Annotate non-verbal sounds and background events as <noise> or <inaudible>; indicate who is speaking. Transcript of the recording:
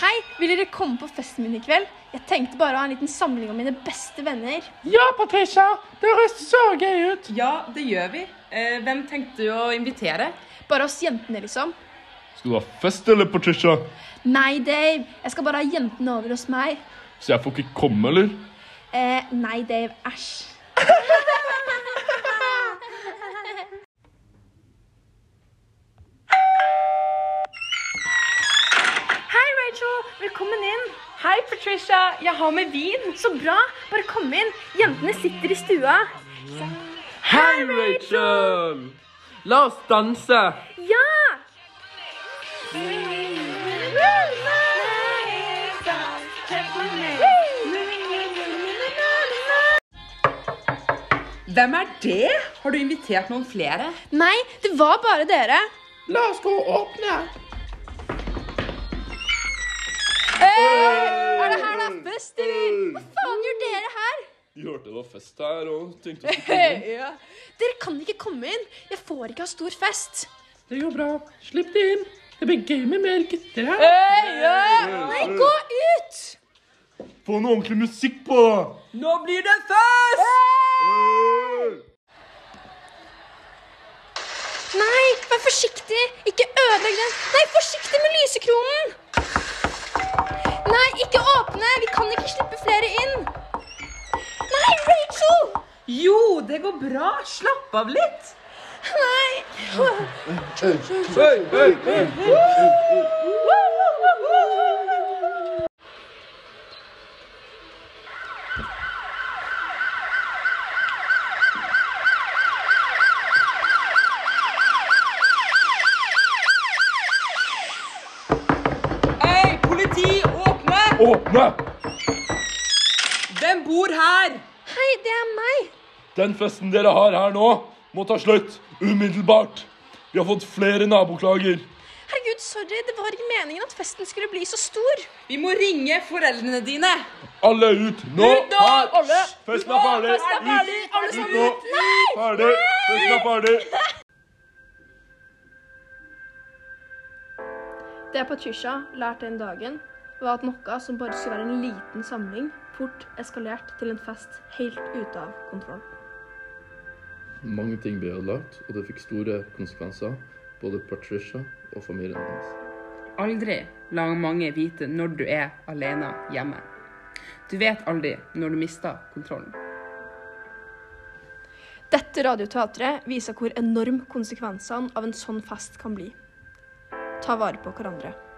Speaker 1: Hei, vil dere komme på festen min i kveld? Jeg tenkte bare å ha en liten samling av mine beste venner.
Speaker 2: Ja, Patricia, det høres så gøy ut.
Speaker 3: Ja, det gjør vi. Eh, hvem tenkte du å invitere?
Speaker 1: Bare oss jentene, liksom.
Speaker 4: Skal du ha fest, eller, Patricia?
Speaker 1: Nei, Dave. Jeg skal bare ha jentene over hos meg.
Speaker 4: Så jeg får ikke komme, eller?
Speaker 1: Eh, nei, Dave. Æsj.
Speaker 5: Hei, Rachel. Velkommen inn. Hei, Patricia. Jeg har med vin.
Speaker 1: Så bra. Bare kom inn. Jentene sitter i stua.
Speaker 2: Hei, Rachel! La oss danse.
Speaker 1: Ja!
Speaker 3: Hvem er det? Har du invitert noen flere?
Speaker 1: Nei, det var bare dere.
Speaker 2: La oss gå og åpne.
Speaker 1: Eh, Er det her det er fest, eller? Hva faen gjør dere her?
Speaker 4: Vi hørte det var fest her, og tenkte
Speaker 3: <laughs>
Speaker 4: å
Speaker 1: Dere kan ikke komme inn. Jeg får ikke ha stor fest.
Speaker 2: Det går bra. Slipp det inn. Det blir gøy med mer gutter her.
Speaker 1: Nei, gå ut!
Speaker 4: Få noe ordentlig musikk på, da!
Speaker 3: Nå blir det fest!
Speaker 1: Nei, vær forsiktig! Ikke ødelegg den! Nei, forsiktig med lysekronen! Nei, ikke åpne! Vi kan ikke slippe flere inn! Nei, Rachel!
Speaker 3: Jo, det går bra. Slapp av litt.
Speaker 1: Nei!
Speaker 3: Hei, politi, åpne!
Speaker 4: Åpne!
Speaker 3: Hvem bor her?
Speaker 1: Hei, det er meg!
Speaker 4: Den festen dere har her nå, må ta slutt umiddelbart. Vi har fått flere naboklager.
Speaker 1: Herregud, sorry. Det var ikke meningen at festen skulle bli så stor.
Speaker 3: Vi må ringe foreldrene dine.
Speaker 4: Alle ut nå!
Speaker 3: Ut nå,
Speaker 4: Her!
Speaker 3: alle!
Speaker 4: Festen er ferdig!
Speaker 3: festen er ferdig, alle
Speaker 4: Ut,
Speaker 3: sammen
Speaker 4: ut nå! Ferdig! Festen er ferdig!
Speaker 1: Det Patricia lærte den dagen, var at noe som bare skulle være en liten samling, fort eskalert til en fest helt ute av kontroll.
Speaker 6: Mange ting ble ødelagt, og det fikk store konsekvenser. Både Patricia og familien hennes.
Speaker 7: Aldri la mange vite når du er alene hjemme. Du vet aldri når du mister kontrollen.
Speaker 1: Dette radioteatret viser hvor enorm konsekvensene av en sånn fest kan bli. Ta vare på hverandre.